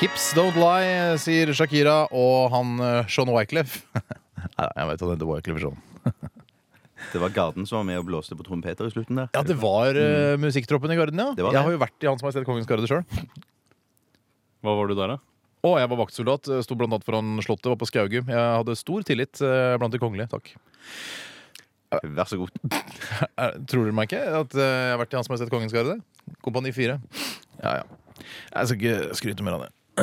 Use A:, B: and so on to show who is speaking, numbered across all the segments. A: Hips don't lie, sier Shakira og han eh, Sean Wyclef. Nei, jeg vet han heter Wyclef Sean.
B: Det var Garden som var med og blåste på trompeter i slutten der.
A: Ja, det var eh, musikktroppen i Garden, ja.
B: Det var det.
A: Jeg har jo vært i Hans Majestet Kongens Garde sjøl.
C: Hva var du der, da?
A: Og jeg var vaktsoldat. eh, Sto blant annet foran Slottet, var på Skaugum. Jeg hadde stor tillit eh, blant de kongelige. Takk.
B: Vær så god.
A: Er, tror dere meg ikke at eh, jeg har vært i Hans Majestet Kongens Garde? Kompani 4. Ja, ja. Jeg skal ikke skryte mer av det.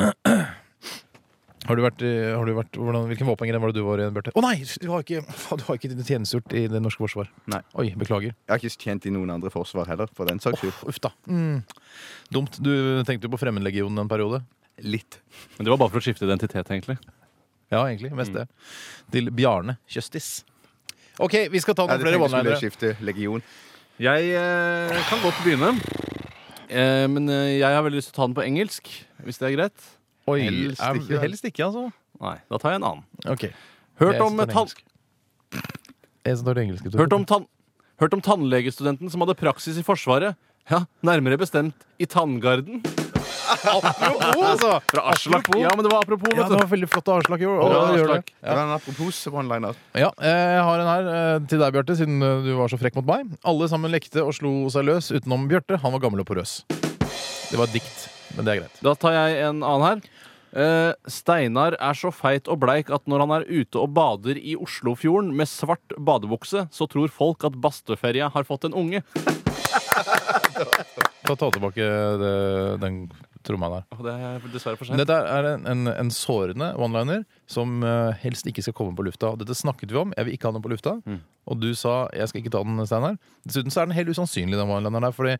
A: Har du vært, i- har du vært hvordan, Hvilken våpengren var det du var i, Bjarte? Å nei! Du har ikke, faen, du har ikke tjenestegjort i det norske forsvar.
B: Nei.
A: Oi, beklager.
B: Jeg har ikke tjent i noen andre forsvar heller, for den saks skyld.
A: Uff da. Mm. Dumt. Du tenkte jo på Fremmedlegionen en periode.
B: Litt.
C: Men Det var bare for å skifte identitet, egentlig.
A: Ja, egentlig. Mest det. Til Bjarne Kjøstis. OK, vi skal ta noen
B: Jeg hadde
A: flere
B: tenkt å skulle
A: one-linere.
B: skifte legion.
C: Jeg eh, kan godt begynne. Eh, men eh, jeg har veldig lyst til å ta den på engelsk, hvis det er greit.
A: Oi,
B: Helst
A: er-
B: ikke, ja.
A: helst ikke, altså.
C: Nei, da tar jeg en annen.
A: OK.
C: Hørt
A: Jeg
C: om,
A: tar den
C: tann
A: engelsk. Jeg som tar det engelske. Tore.
C: hørt, om tann hørt om tannlegestudenten som hadde praksis i Forsvaret. Ja, Nærmere bestemt i Tanngarden.
A: Apropos, altså!
C: Fra Aslak.
A: Apropos.
C: Ja, men det var apropos.
A: Ja,
C: vet
A: det
C: du.
A: var veldig flott av Aslak i år.
C: Bra,
A: å gjøre
C: Aslak.
A: det.
B: Det var en apropos one-liner.
A: Ja, jeg har en her eh, til deg, Bjarte, siden eh, du var så frekk mot meg. Alle sammen lekte og slo seg løs, utenom Bjarte. Han var gammel og porøs. Det var et dikt, men det er greit.
C: Da tar jeg en annen her. Eh, Steinar er så feit og bleik at når han er ute og bader i Oslofjorden med svart badebukse, så tror folk at Bastøferja har fått en unge.
A: Ta, ta tilbake det, den tromma der.
C: Å, Det er dessverre for sent.
A: Dette er en, en, en sårende one-liner som eh, helst ikke skal komme på lufta. Dette snakket vi om. Jeg vil ikke ha den på lufta.
C: Mm.
A: Og du sa jeg skal ikke ta den, Steinar. Dessuten så er den helt usannsynlig, den one-lineren der. Fordi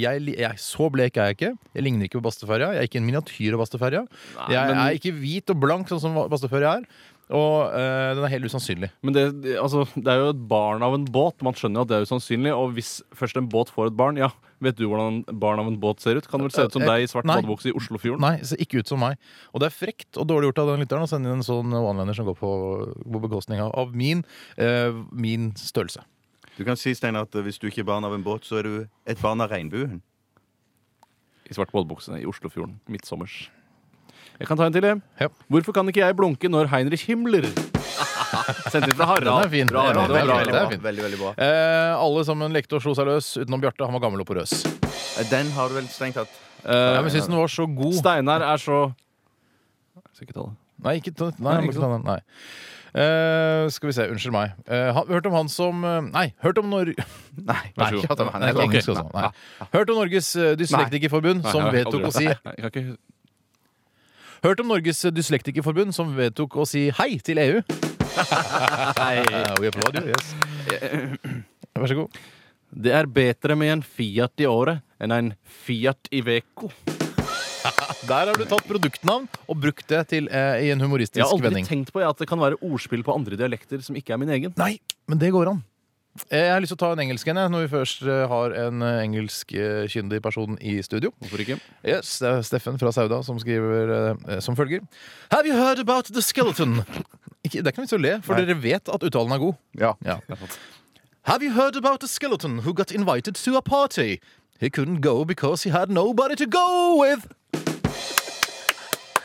A: jeg, li- jeg, så blek er jeg ikke. Jeg ligner ikke på Basteferja. Jeg er ikke en miniatyr av Basteferja.
C: Nei,
A: Jeg
C: men-
A: er ikke hvit og blank sånn som Basteferja er. Og eh, den er helt usannsynlig.
C: Men det, det- altså, det er jo et barn av en båt. Man skjønner jo at det er usannsynlig. Og hvis først en båt får et barn, ja, vet du hvordan barn av en båt ser ut? Kan det vel se ut som
A: Eh,
C: deg i svart
A: nei.
C: badebukse i Oslofjorden?
A: Nei, ser ikke ut som meg. Og det er frekt og dårlig gjort av den lytteren å sende inn en sånn one-liner som går på, på bekostning av, av min, eh, min størrelse.
B: Du kan si, Steinar, at hvis du ikke er barn av en båt, så er du et barn av regnbuen.
C: I svart badebukse i Oslofjorden. Midtsommers. Jeg kan ta en til, jeg.
A: Ja.
C: Hvorfor kan ikke jeg blunke når Heinrich Himmler Sendt inn fra
A: Den
C: Harald.
A: er fin.
C: Fra
A: Den er fin. Det
C: Harald. Det var bra.
B: veldig,
A: er
B: bra.
A: fint.
B: veldig, veldig bra.
A: Eh, alle sammen lekte og slo seg løs, utenom Bjarte. Han var gammel og porøs.
B: Den har du vel strengt tatt.
C: Eh,
A: Ja, men synes den var så god.
C: Steinar er så Jeg skal ikke ta det.
A: Nei, ikke, ta- nei,
C: Nei,
A: ikke
C: ikke
A: sånn. Nei. Eh, skal vi se. Unnskyld meg. Eh, han, hørt om han som eh, Nei, hørt om Nor...
B: Nei,
A: Nei,
C: god.
A: ikke at han- nei,
B: Ok.
A: engelsk også. Nei. Hørt om Norges eh, dyslektikerforbund som
C: Nei, jeg har
A: vedtok å
C: aldri-
A: si
C: Nei, jeg kan ikke-
A: Hørt om Norges dyslektikerforbund som vedtok å si hei til EU.
C: Nei.
A: Eh, we applaud you, yes. Vær så god.
C: Det er bedre med en Fiat i året enn en Fiat i veko.
A: Der har du tatt produktnavn og brukt det til, eh, i en
C: Jeg har
A: humoristisk
C: aldri
A: vending.
C: tenkt på jeg, at det kan være ordspill på andre dialekter som ikke er min egen.
A: Nei, men det går an. Eh, Jeg har lyst til å ta en engelsk en, jeg, når vi først eh, har en eh, engelskkyndig person i studio.
C: Hvorfor ikke?
A: Yes, det er Steffen fra Sauda som skriver eh, som følger. Have you heard about the skeleton? Ikke, det er ikke noe vits i å le, for
B: Nei.
A: dere vet at uttalen er god.
B: Ja.
A: Ja. Have you heard about the skeleton who got invited to a party? He couldn't go because he had nobody to go with.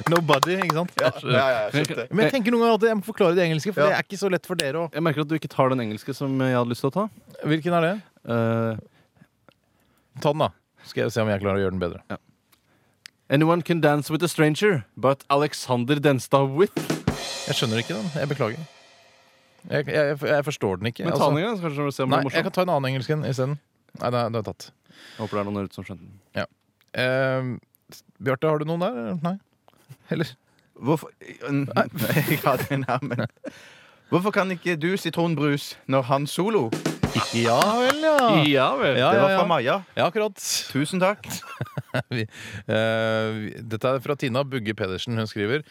A: Nobody, ikke sant?
B: Ja, ja, ja, jeg skjønte.
A: Men jeg tenker noen ganger at jeg må forklare det engelske, for
B: Ja.
A: det er ikke så lett for dere å
C: Jeg merker at du ikke tar den engelske som jeg hadde lyst til å ta.
A: Hvilken er det?
C: Eh,
A: Ta den, da. Skal jeg se om jeg klarer å gjøre den bedre.
C: anyone can dance with a stranger, but Alexander Denstad with
A: Jeg skjønner ikke den. Jeg beklager. Jeg, jeg, jeg forstår den ikke. Altså,
C: Men ta den en gang, så kanskje du vil se om det
A: nei,
C: er
A: jeg
C: morsomt.
A: kan ta en annen engelsk en isteden. Nei, det er, det er tatt.
C: Jeg Håper det er noen der ute som skjønte den.
A: Uh, Bjarte, har du noen der? Nei? Eller?
B: Hvorfor Nei, jeg hadde en her, men Hvorfor kan ikke du sitronbrus når han solo?
A: Ja vel, ja.
C: Ja vel.
A: Ja,
B: Det
A: ja,
B: var fra
A: ja.
B: Maja.
A: ja akkurat.
B: Tusen takk.
A: Vi, eh, vi- dette er fra Tina Bugge Pedersen. Hun skriver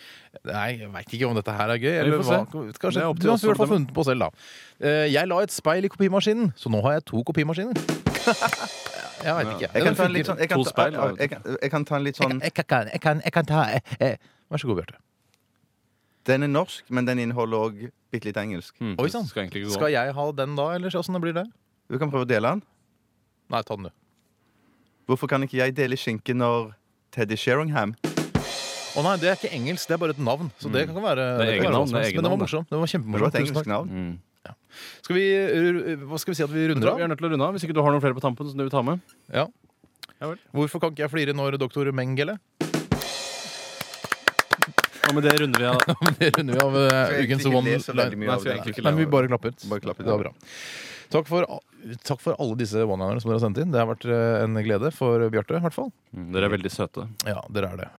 A: Nei, jeg veit ikke om dette her er gøy.
C: Vi
A: Eller
C: får se.
A: hva,
C: Det er
A: kanskje,
C: opp
A: du
C: til
A: har
C: oss å
A: i hvert fall
C: bestemme.
A: funnet på selv, da. Eh, jeg la et speil i kopimaskinen, så nå har jeg to kopimaskiner. jeg veit ikke.
B: Jeg kan
A: Den
B: ta en
A: funker.
B: litt sånn Jeg kan
C: To
B: ta,
C: speil, da, vet du.
B: jeg kan, jeg kan ta en litt sånn
A: Jeg kan, jeg kan, jeg kan ta eh, eh. Vær så god, Bjarte.
B: Den er norsk, men den inneholder òg bitte litt engelsk.
C: Mm,
A: Oi
C: det
A: sann.
C: Skal egentlig ikke gå.
A: Skal jeg ha den da, eller åssen det blir det?
B: Du kan prøve å dele den.
A: Nei, ta den, du.
B: Hvorfor kan ikke jeg dele skinke når Teddy Sheringham
A: Å nei, det er ikke engelsk, det er bare et navn. Så det kan være
C: Det er
A: kan være hva
C: egennavn,
A: som helst.
C: det er
A: Men det var
C: egennavn,
A: morsomt. Det var
B: Det var et
A: kjempemorsomt. Tusen
B: engelsk
A: takk.
B: navn.
C: Mm.
A: Skal vi, uh, hva skal vi si at vi runder
C: Vi
A: av?
C: er nødt til å runde av hvis ikke du har noen flere på tampen som du vil ta med.
A: Ja.
C: Ja vel.
A: Hvorfor kan ikke jeg flire når doktor Mengele?
C: Og med det runder vi av.
A: Det runder vi av uh,
B: Jeg
A: ukens
B: egentlig
A: one
B: leser veldig mye
C: Nei,
B: av
C: så jeg
B: det.
C: egentlig
A: Nei, men vi bare klapper.
B: Bare klapper.
A: Det var bra. Takk for, takk for alle disse one-linerne som dere har sendt inn. Det har vært eh, en glede for Bjarte, i hvert fall.
C: Mm, Hm, Dere er veldig søte.
A: Ja, dere er det.